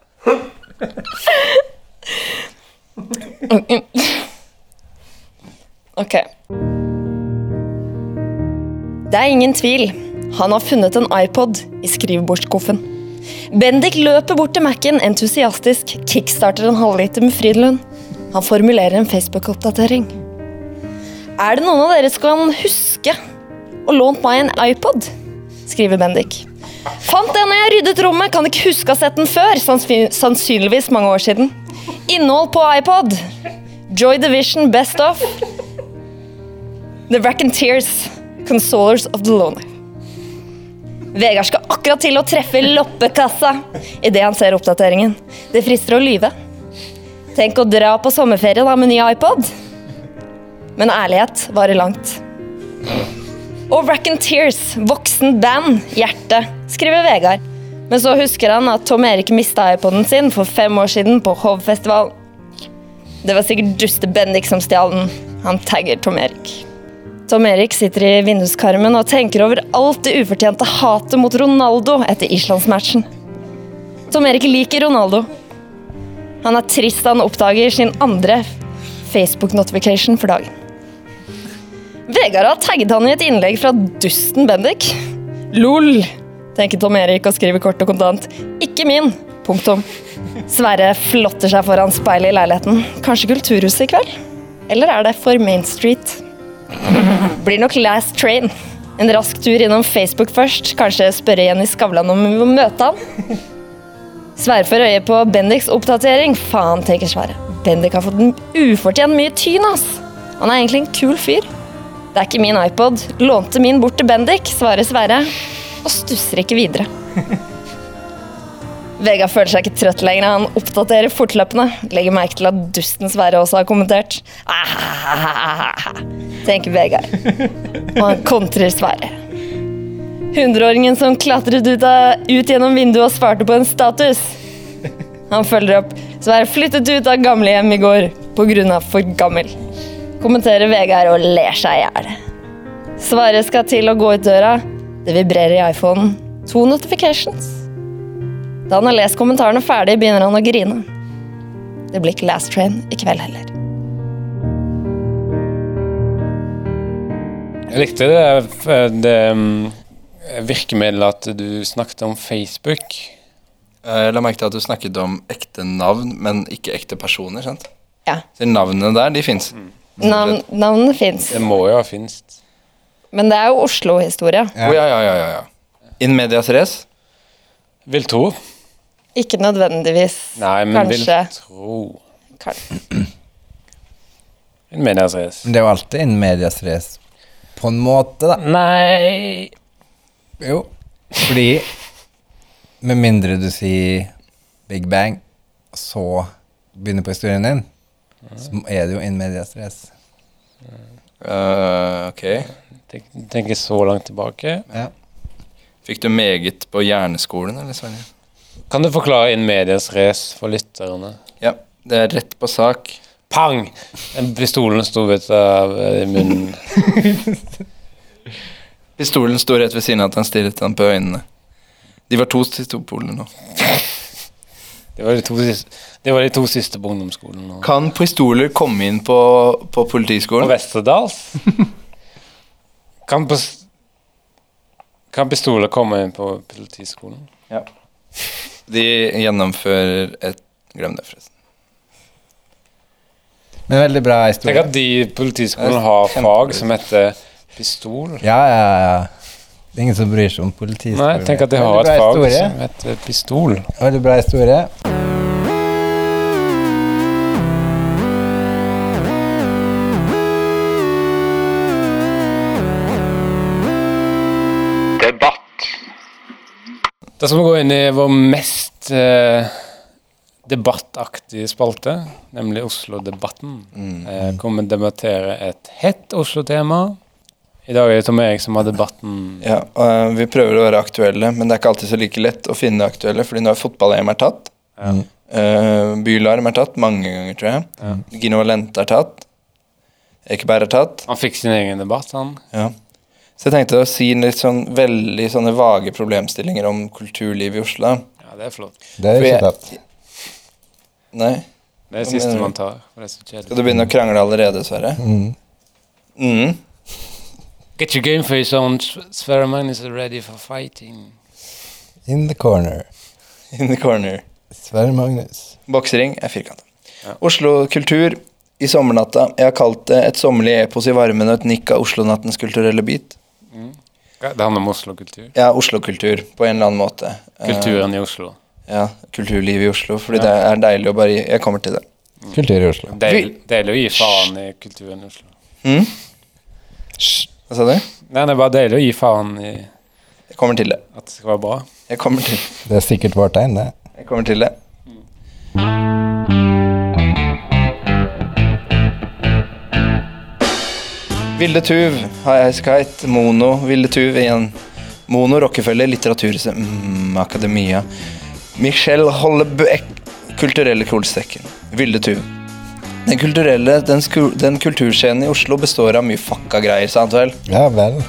[SPEAKER 7] Ok. Det er ingen tvil. Han har funnet en iPod i skrivebordsskuffen. Bendik løper bort til Mac-en entusiastisk, kickstarter en halvliter med Frydenlund. Han formulerer en Facebook-oppdatering. Er det noen av dere som kan huske å lånt meg en iPod? skriver Bendik. Fant den når jeg ryddet rommet, kan ikke huske å ha sett den før. sannsy- Sannsynligvis mange år siden. Innhold på iPod. Joy Division Best Of. The Rack and Tears, Consolers of the Lonely. Vegard skal akkurat til å treffe loppekassa idet han ser oppdateringen. Det frister å lyve. Tenk å dra på sommerferie da med ny iPod. Men ærlighet varer langt. Og Rack and Tears, voksen band, hjerte, skriver Vegard. Men så husker han at Tom Erik mista iPoden sin for fem år siden på Hovfestival. Det var sikkert duste Bendik som stjal den. Han tagger Tom Erik. Tom Erik sitter i vinduskarmen og tenker over alt det ufortjente hatet mot Ronaldo etter Islandsmatchen. Tom Erik liker Ronaldo. Han er trist da han oppdager sin andre Facebook-notification for dagen. Vegard har tagget han i et innlegg fra dusten Bendik. LOL, tenker Tom Erik og skriver kort og kontant. Ikke min. Punktum. Sverre flotter seg foran speilet i leiligheten. Kanskje Kulturhuset i kveld? Eller er det for Main Street? Blir nok last train. En rask tur innom Facebook først. Kanskje spørre Jenny Skavlan om hun vil møte han. Sverre får øye på Bendiks oppdatering. Faen, tenker Sverre. Bendik har fått en ufortjent mye tyn, ass. Han er egentlig en kul fyr. Det er ikke min iPod. Lånte min bort til Bendik, svarer Sverre. Og stusser ikke videre. Vegard føler seg ikke trøtt lenger. Han oppdaterer fortløpende. Legger merke til at dusten Sverre også har kommentert. Ah, tenker Vegard. Og han kontrer Sverre. Hundreåringen som klatret ut, av, ut gjennom vinduet og svarte på en status. Han følger opp. Sverre flyttet ut av gamlehjem i går pga. for gammel. Kommenterer Vegard og ler seg i hjel. Sverre skal til å gå ut døra. Det vibrerer i iPhonen. To notifications. Da han har lest kommentarene ferdig, begynner han å grine. Det blir ikke Last Train i kveld heller.
[SPEAKER 3] Jeg likte det, eh, det mm, virkemidlet at du snakket om Facebook.
[SPEAKER 2] Eh, Jeg la merke til at du snakket om ekte navn, men ikke ekte personer. sant?
[SPEAKER 7] Ja.
[SPEAKER 2] Så Navnene der, de fins.
[SPEAKER 7] Navn, navnene fins,
[SPEAKER 3] Det må jo ha finst.
[SPEAKER 7] men det er jo Oslo-historie.
[SPEAKER 2] Å, ja, ja, ja, ja, ja. In medias res.
[SPEAKER 3] Vil tro.
[SPEAKER 7] Ikke nødvendigvis.
[SPEAKER 3] Nei, men
[SPEAKER 7] Kanskje.
[SPEAKER 3] vil tro.
[SPEAKER 7] Kan-
[SPEAKER 3] En medias
[SPEAKER 4] Men det er jo alltid en medias race. På en måte, da.
[SPEAKER 3] Nei
[SPEAKER 4] Jo. Fordi Med mindre du sier Big Bang, så begynner på historien din, så
[SPEAKER 2] Mhm.
[SPEAKER 4] er det jo in medias race.
[SPEAKER 2] Eh, ok.
[SPEAKER 3] Tenk, tenker så langt tilbake.
[SPEAKER 2] Fikk du meget på hjerneskolen, eller, Sverre?
[SPEAKER 3] Kan du forklare en medias race for lytterne?
[SPEAKER 2] Ja. Det er rett på sak.
[SPEAKER 3] Pang! Den Pistolen sto ut av eh, munnen.
[SPEAKER 2] Pistolen sto rett ved siden av at han stirret han på øynene. De var to pistoler nå.
[SPEAKER 3] Det var de to siste, det var de to siste på ungdomsskolen. nå.
[SPEAKER 2] Kan pistoler komme inn på, på
[SPEAKER 3] På
[SPEAKER 2] politiskolen?
[SPEAKER 3] Vesterdals? Kan, pos- kan pistoler komme inn på politiskolen?
[SPEAKER 2] De gjennomfører et Glem det, forresten.
[SPEAKER 4] Men veldig bra
[SPEAKER 3] Tenk
[SPEAKER 4] historie.
[SPEAKER 3] at de i politiskolen har fag som heter pistol.
[SPEAKER 4] Ja, ja, ja. Det er ingen som bryr seg om politiet.
[SPEAKER 3] Nei, tenk at de har et
[SPEAKER 4] Veldig bra
[SPEAKER 3] fag
[SPEAKER 4] historie.
[SPEAKER 3] som heter pistol.
[SPEAKER 4] Veldig bra historie.
[SPEAKER 5] Debatt.
[SPEAKER 3] Da skal vi gå inn i vår mest eh, debattaktige spalte, nemlig Oslo-debatten.
[SPEAKER 2] Mm.
[SPEAKER 3] Eh, kommer debattere et hett Oslo-tema. I dag er det Tom Erik som har debatten.
[SPEAKER 2] Ja, og, eh, vi prøver å være aktuelle, men det er ikke alltid så like lett å finne aktuelle, fordi nå er fotball-EM er tatt. Eh, Bylarm er tatt mange ganger, tror jeg. Gino Valente er tatt. Ekeberg er tatt.
[SPEAKER 3] Han fikk sin egen debatt, han.
[SPEAKER 2] Ja. Så jeg tenkte å si en litt sånn veldig sånne vage problemstillinger om kulturlivet i Oslo.
[SPEAKER 3] Ja, Det er flott.
[SPEAKER 4] Det er
[SPEAKER 2] For jeg-
[SPEAKER 4] ikke tatt.
[SPEAKER 2] Nei?
[SPEAKER 3] Det er det siste man tar. For det er så
[SPEAKER 2] eh, Skal du
[SPEAKER 3] kjedelig.
[SPEAKER 2] begynne å krangle allerede, Sverre? Mm.
[SPEAKER 3] Get your game face on. Sverre Magnus is ready for fighting.
[SPEAKER 4] In the corner.
[SPEAKER 2] In the corner.
[SPEAKER 4] Sverre Magnus.
[SPEAKER 2] Boksering er firkanta. Oslo kultur i sommernatta. Jeg har kalt det et sommerlig epos i varmen og et nikk av Oslo-nattens kulturelle bit.
[SPEAKER 3] Det handler om Oslo-kultur.
[SPEAKER 2] Ja, Oslo-kultur på en eller annen måte. Eh,
[SPEAKER 3] Kulturen i Oslo.
[SPEAKER 2] ja, kulturlivet i Oslo. Fordi det er deilig å bare Jeg kommer til det.
[SPEAKER 4] Kultur i Oslo.
[SPEAKER 3] Deil- Deilig å gi faen i kulturen i Oslo.
[SPEAKER 2] Hva sa du?
[SPEAKER 3] Nei, det er bare deilig å gi faen i
[SPEAKER 2] Jeg kommer til det.
[SPEAKER 3] at det skal være bra.
[SPEAKER 2] Jeg kommer til
[SPEAKER 4] Det er sikkert vårt tegn, det.
[SPEAKER 2] Jeg kommer til det. Vilde Tuv, High Ice Kite, Mono, Vilde Tuv igjen. Mono, Rockefeller, Litteraturhuset, mm, Akademia. Michelle Hollebeck, Kulturelle kolsekken. Vilde Tuv. Den kulturelle, den, sku, den kulturscenen i Oslo består av mye fucka greier, sant vel?
[SPEAKER 4] Ja vel.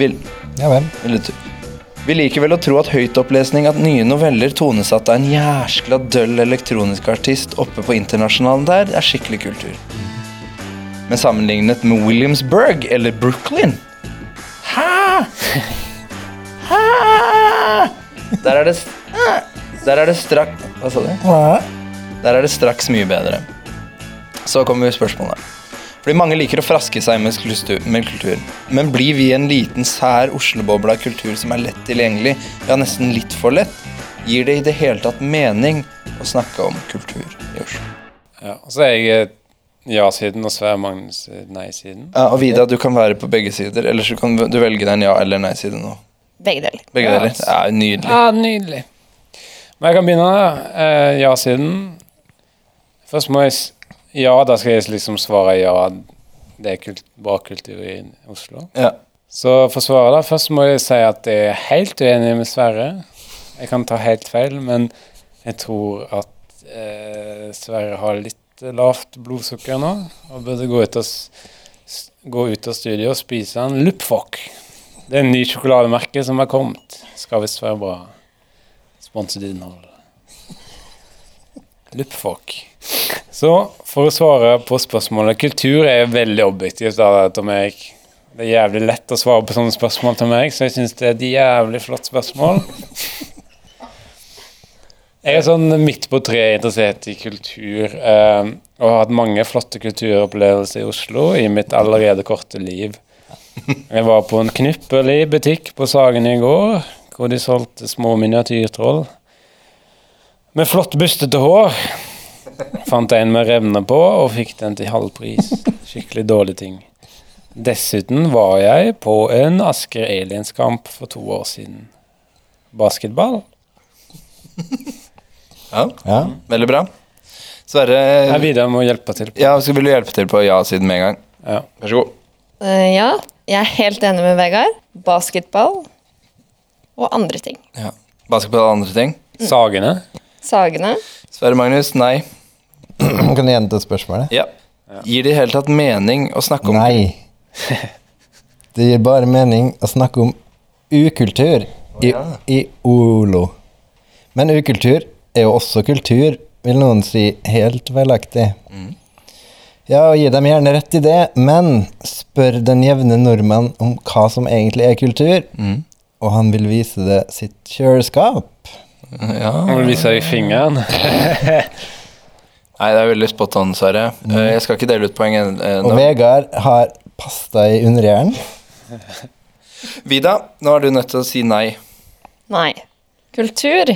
[SPEAKER 2] Vil,
[SPEAKER 4] Ja vel.
[SPEAKER 2] eller tu- Vi liker vel å tro at høytopplesning at nye noveller tonesatt av en jæskla døll elektronisk artist oppe på internasjonalen der, er skikkelig kultur. Men sammenlignet med Williamsburg eller Brooklyn Hæ? Hæ? Der er det s- Der er det straks Hva sa du? Der er det straks mye bedre. Så kommer spørsmålet. Fordi mange liker å fraske seg med kultur, med kultur. Men blir vi en liten, sær Oslo-boble av kultur som er lett tilgjengelig, ja, nesten litt for lett? Gir det i det hele tatt mening å snakke om kultur i Oslo?
[SPEAKER 3] Ja, og så er jeg eh, ja-siden og Sverre Magnus eh, nei-siden.
[SPEAKER 2] Ja, og Vida, du kan være på begge sider, ellers så kan du velge deg en ja- eller nei-side nå.
[SPEAKER 7] Begge deler.
[SPEAKER 2] Begge
[SPEAKER 3] Ja,
[SPEAKER 2] deler. Det er nydelig.
[SPEAKER 3] Ja, nydelig. Men jeg kan begynne. da. Eh, Ja-siden. Først må jeg s- Ja, da skal jeg liksom svare ja. Det er kult, bra kultur i Oslo.
[SPEAKER 2] Ja.
[SPEAKER 3] Så for svaret, da. Først må jeg si at jeg er helt uenig med Sverre. Jeg kan ta helt feil, men jeg tror at eh, Sverre har litt eh, lavt blodsukker nå. Og burde gå ut av, s- s- gå ut av studiet og spise en Lupfok. Det er en ny sjokolademerke som har kommet. Skal visst være bra. Sponset innhold. Lupfok. Så for å svare på spørsmålet Kultur er veldig objektivt, da, Tom Erik. Det er jævlig lett å svare på sånne spørsmål, Tom Erik, så jeg syns det er et jævlig flott spørsmål. Jeg er sånn midt på treet interessert i kultur, eh, og har hatt mange flotte kulturopplevelser i Oslo i mitt allerede korte liv. Jeg var på en knypperlig butikk på Sagen i går, hvor de solgte små miniatyrtroll. Med flott bustete hår. Fant en med revner på, og fikk den til halv pris. Skikkelig dårlig ting. Dessuten var jeg på en Asker Aliens-kamp for to år siden. Basketball?
[SPEAKER 2] ja.
[SPEAKER 4] Ja.
[SPEAKER 2] Veldig bra.
[SPEAKER 3] Jeg
[SPEAKER 2] Sverre,
[SPEAKER 3] videre må hjelpe til.
[SPEAKER 2] ja, så vil du hjelpe til på ja-siden med en gang.
[SPEAKER 3] Ja.
[SPEAKER 2] Vær så god.
[SPEAKER 7] Eh, ja, jeg er helt enig med Vegard. Basketball og andre ting.
[SPEAKER 2] Ja. Basketball og andre ting.
[SPEAKER 3] Sagene?
[SPEAKER 7] Sagene.
[SPEAKER 2] Sverre Magnus, nei.
[SPEAKER 4] Kan du gjenta spørsmålet?
[SPEAKER 2] Ja. Gir det i hele tatt mening å snakke om
[SPEAKER 4] Nei. Det gir bare mening å snakke om ukultur i, i Olo. Men ukultur er jo også kultur, vil noen si helt velaktig.
[SPEAKER 2] Mm.
[SPEAKER 4] Ja, og gi dem gjerne rett i det, men spør den jevne nordmann om hva som egentlig er kultur,
[SPEAKER 2] Mm.
[SPEAKER 4] og han vil vise det sitt kjøleskap.
[SPEAKER 2] Ja.
[SPEAKER 3] Må du vise deg fingeren?
[SPEAKER 2] Nei, det er veldig spot on, Sverre. Eh, Jeg skal ikke dele ut poeng eh,
[SPEAKER 4] Og
[SPEAKER 2] ennå.
[SPEAKER 4] Vegard har pasta i underhjernen.
[SPEAKER 2] Vida, nå er du nødt til å si nei.
[SPEAKER 7] Nei. Kultur.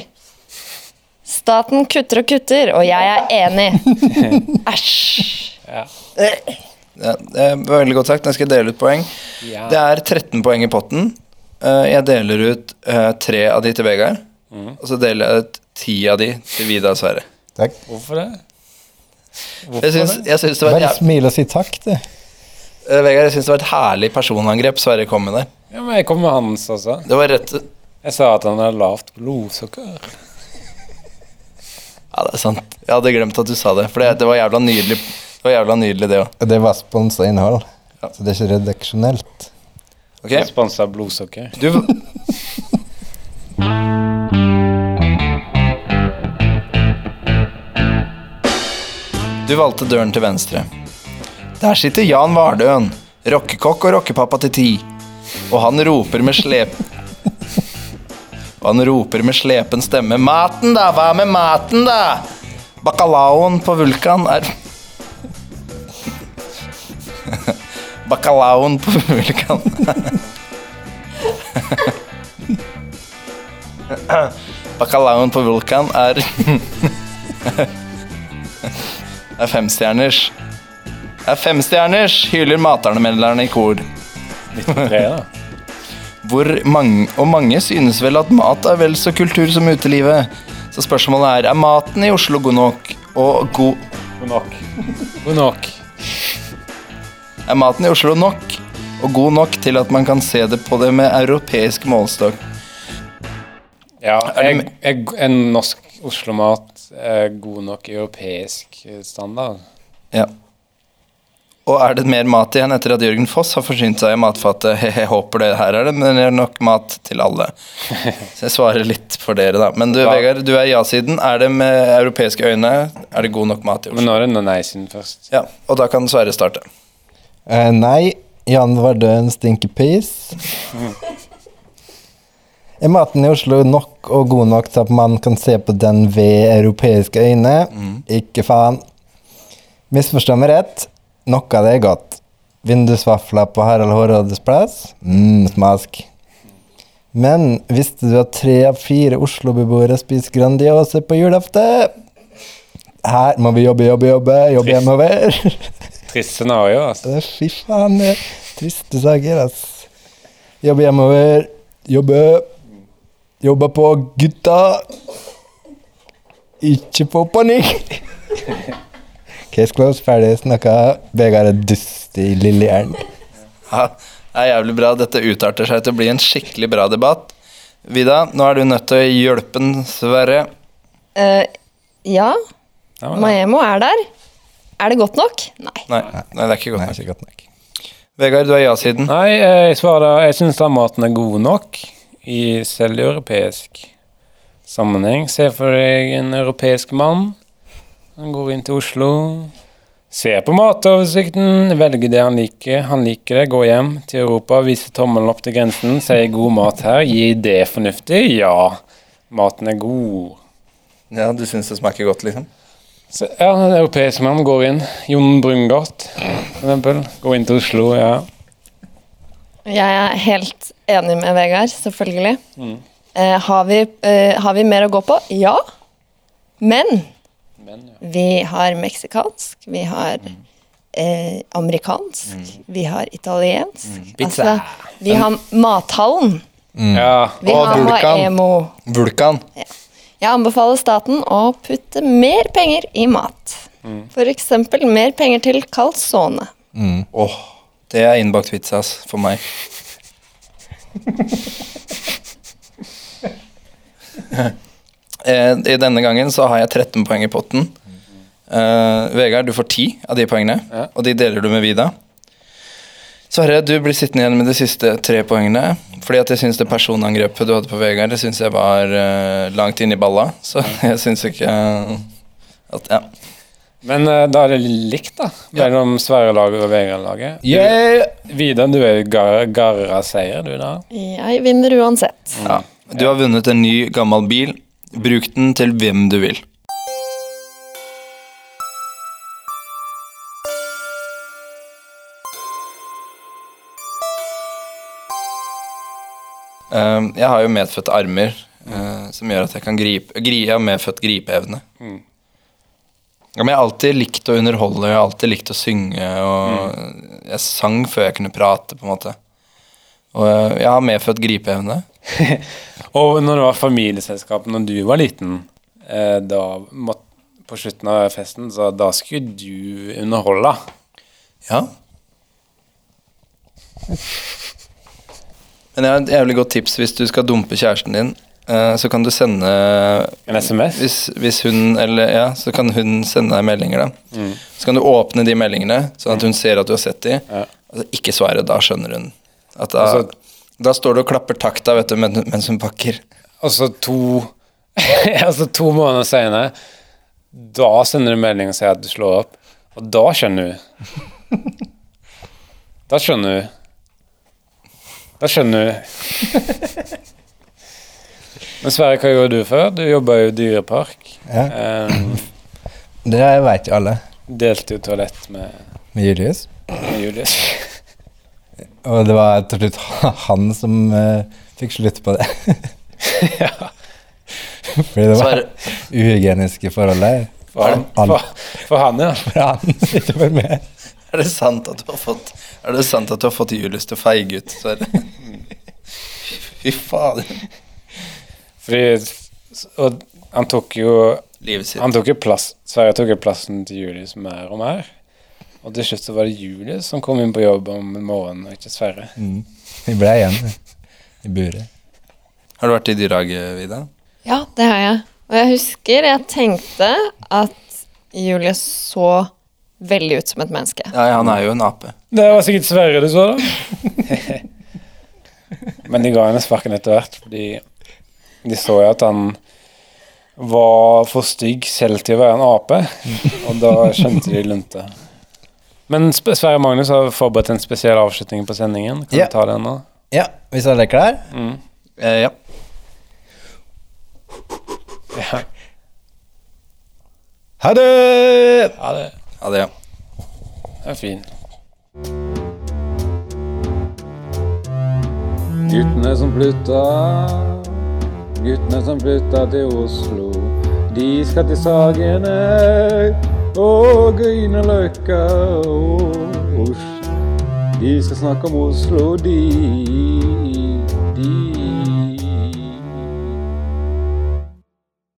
[SPEAKER 7] Staten kutter og kutter, og jeg er enig. Æsj.
[SPEAKER 2] Ja, det er veldig godt sagt. Jeg skal dele ut poeng. Det er 13 poeng i potten. Eh, Jeg deler ut eh, tre av de til Vegard. Og så deler jeg ut ti av de til Vida og Sverre.
[SPEAKER 4] Takk.
[SPEAKER 3] Hvorfor det?
[SPEAKER 2] Jeg syns, jeg syns det var et
[SPEAKER 4] Bare
[SPEAKER 2] jæv-
[SPEAKER 4] smil og si takk, du.
[SPEAKER 2] eh, Vegard, jeg syns det var et herlig personangrep Sverre kom med der.
[SPEAKER 3] Ja, men jeg kom med hans også.
[SPEAKER 2] Det var rett
[SPEAKER 3] Jeg sa at han har lavt blodsukker.
[SPEAKER 2] Ja, det er sant. Jeg hadde glemt at du sa det, for det, det var jævla nydelig, det var jævla nydelig det òg.
[SPEAKER 4] Og det var sponsa innhold, så det er ikke redaksjonelt.
[SPEAKER 2] Ok?
[SPEAKER 3] Sponsa av blodsukker.
[SPEAKER 2] Du Du valgte døren til venstre. Der sitter Jan Vardøen, rockekokk og rockepappa til ti. Og han roper med slep... Og han roper med slepen stemme 'Maten, da! Hva med maten, da?' Bacalaoen på Vulkan er Bacalaoen på Vulkan Bacalaoen på Vulkan er Det er femstjerners. Det er femstjerners, hyler matanmelderne i kor.
[SPEAKER 3] Tre, da.
[SPEAKER 2] Hvor mange, og mange synes vel at mat er vel så kultur som utelivet. Så spørsmålet er, er maten i Oslo god nok? Og god
[SPEAKER 3] God nok. God nok.
[SPEAKER 2] er maten i Oslo nok, og god nok til at man kan se det på det med europeisk målestokk.
[SPEAKER 3] Ja,
[SPEAKER 2] Er
[SPEAKER 3] jeg,
[SPEAKER 2] det-
[SPEAKER 3] jeg, en norsk Oslo-mat er god nok europeisk eh, standard.
[SPEAKER 2] Ja. Og er det mer mat igjen etter at Jørgen Foss har forsynt seg i matfatet? He-he, håper det her er det, men det er nok mat til alle. Så jeg svarer litt for dere, da. Men du,
[SPEAKER 3] Ja.
[SPEAKER 2] Vegard, du er ja-siden. Er det med europeiske øyne? Er det god nok mat i
[SPEAKER 3] Men
[SPEAKER 2] Oslo?
[SPEAKER 3] nå er det nå nei-siden først.
[SPEAKER 2] Ja, og da kan Sverre starte.
[SPEAKER 4] Eh, nei, Jan var død en stinkepis. Er maten i Oslo nok og god nok til at man kan se på den ved europeiske øyne? Ikke faen. Misforstå meg rett, noe av det er godt. Vindusvafler på Harald Hårrådes plass? Mm, smask. Men visste du at tre av fire Oslo-beboere spiser Grandiosa på julaften? Her må vi jobbe, jobbe, jobbe, jobbe hjemover.
[SPEAKER 3] Trist scenario, altså.
[SPEAKER 4] Det er fy faen, det er triste saker, ass. Jobbe hjemover. Jobbe. Jobbe på gutta. Ikke på panikk! Case closed, ferdig snakka. Vegard er dust i lille hjernen.
[SPEAKER 2] Ja, det er jævlig bra. Dette utarter seg til å bli en skikkelig bra debatt. Vida, nå er du nødt til å hjelpe den, Sverre.
[SPEAKER 7] Eh, ja,
[SPEAKER 3] Ja, men,
[SPEAKER 7] Maemo er der. Er det godt nok? Nei.
[SPEAKER 2] Nei, nei, det er ikke
[SPEAKER 4] Nei,
[SPEAKER 2] godt nok.
[SPEAKER 4] ikke godt nok.
[SPEAKER 2] Vegard, du er ja-siden.
[SPEAKER 3] Nei, eh, jeg svarer Jeg syns den maten er god nok i selveuropeisk sammenheng. Se for deg en europeisk mann. Han går inn til Oslo. Ser på matoversikten, velger det han liker. Han liker det, går hjem til Europa, viser tommelen opp til grensen, sier 'god mat her'. Gir det fornuftig? Ja. Maten er god.
[SPEAKER 2] Ja, du syns det smaker godt, liksom?
[SPEAKER 3] Så, ja, en europeisk mann går inn. Jon Brungot, for eksempel. Går inn til Oslo, ja.
[SPEAKER 7] Jeg er helt enig med Vegard, selvfølgelig. Eh, har, vi, eh, har vi mer å gå på? Ja. Men, vi har meksikansk, vi har eh, amerikansk, vi har italiensk. Altså,
[SPEAKER 2] Pizza.
[SPEAKER 7] vi har mathallen.
[SPEAKER 3] ja.
[SPEAKER 7] Vi
[SPEAKER 2] Og
[SPEAKER 7] har
[SPEAKER 2] vulkan.
[SPEAKER 7] Maemo.
[SPEAKER 2] Vulkan.
[SPEAKER 7] Jeg anbefaler staten å putte mer penger i mat. For eksempel mer penger til calzone.
[SPEAKER 2] Åh, det er innbakt vits, ass, for meg. Eh, I denne gangen så har jeg 13 poeng i potten. Eh, Vegard, du får 10 av de poengene, og de deler du med Vida. Sverre, du blir sittende igjen med de siste tre poengene. Fordi at jeg syns det personangrepet du hadde på Vegard, det syns jeg var eh, langt inne i balla. Så jeg syns ikke eh, at Ja.
[SPEAKER 3] Men eh, da er det likt, da, mellom Sverre-laget og Vegard-laget. Vidar, du er jo gar Garra-seier, du, da.
[SPEAKER 7] Jeg vinner uansett.
[SPEAKER 2] Ja. Du har vunnet en ny, gammel bil. Bruk den til hvem du vil. Ehm, Jeg har jo medfødte armer, eh, som gjør at jeg kan gripe gri- Jeg har medfødt gripeevne. Ja, men jeg har alltid likt å underholde, jeg har alltid likt å synge, og jeg sang før jeg kunne prate, på en måte. Og eh, jeg har medfødt gripeevne.
[SPEAKER 3] Og når det var familieselskap når du var liten, eh, da måtte, på slutten av festen, så da skulle du underholde.
[SPEAKER 2] Ja. Men jeg har et jævlig godt tips hvis du skal dumpe kjæresten din. eh, Så kan du sende
[SPEAKER 3] En SMS?
[SPEAKER 2] hvis, hvis hun, eller, ja, Så kan hun sende deg meldinger, da. Så kan du åpne de meldingene, sånn at hun ser at du har sett de. Altså, ikke svare, da skjønner hun. At da,
[SPEAKER 3] Altså-
[SPEAKER 2] da står du og klapper takta vet du, men- mens hun pakker.
[SPEAKER 3] Og så to Altså to måneder senere, da sender du melding og sier at du slår opp. Og da skjønner du. Da skjønner du. Da skjønner du. Men Sverre, hva gjorde du før? Du jobba jo i dyrepark.
[SPEAKER 4] Ja.
[SPEAKER 3] Ehm,
[SPEAKER 4] Det veit jo alle.
[SPEAKER 3] delte jo toalett med,
[SPEAKER 4] Med Julius.
[SPEAKER 3] med Julius.
[SPEAKER 4] Og det var til slutt han som eh, fikk slutt på det. Fordi det var
[SPEAKER 2] Sverre-
[SPEAKER 4] uhygieniske forhold der.
[SPEAKER 3] For han,
[SPEAKER 4] Han.
[SPEAKER 3] for, for han ja.
[SPEAKER 4] For han, ikke for meg.
[SPEAKER 2] Er det sant at du har fått Er det sant at du har fått Julius til å feige ut? Sverre? Fy fader.
[SPEAKER 3] Fordi Og han tok jo
[SPEAKER 2] Livet sitt.
[SPEAKER 3] Han tok jo plass Sverre tok jo plassen til Julius mer og mer. Og til slutt så var det Julius som kom inn på jobb om morgenen, og ikke Sverre.
[SPEAKER 4] Vi ble igjen i buret.
[SPEAKER 2] Har du vært i dyrehage, Vida?
[SPEAKER 7] Ja, det har jeg. Og jeg husker jeg tenkte at Julie så veldig ut som et menneske.
[SPEAKER 2] Ja, han er jo en ape.
[SPEAKER 3] Det var sikkert Sverre du så, da. Men de ga henne sparken etter hvert, fordi de så jo at han var for stygg selv til å være en ape, og da skjønte de lunte. Men Sp- Sverre Magnus har forberedt en spesiell avslutning på sendingen. Kan
[SPEAKER 4] Ja.
[SPEAKER 3] du ta den nå?
[SPEAKER 4] Ja, hvis alle er klar?
[SPEAKER 2] Eh, ja.
[SPEAKER 4] Ha det!
[SPEAKER 3] Ja, det
[SPEAKER 2] ja, det ja.
[SPEAKER 3] er fin.
[SPEAKER 1] Guttene som flytta, guttene som flytta til Oslo. De skal til Sagene og Grünerløkka og Os- De skal snakke om Oslo, de.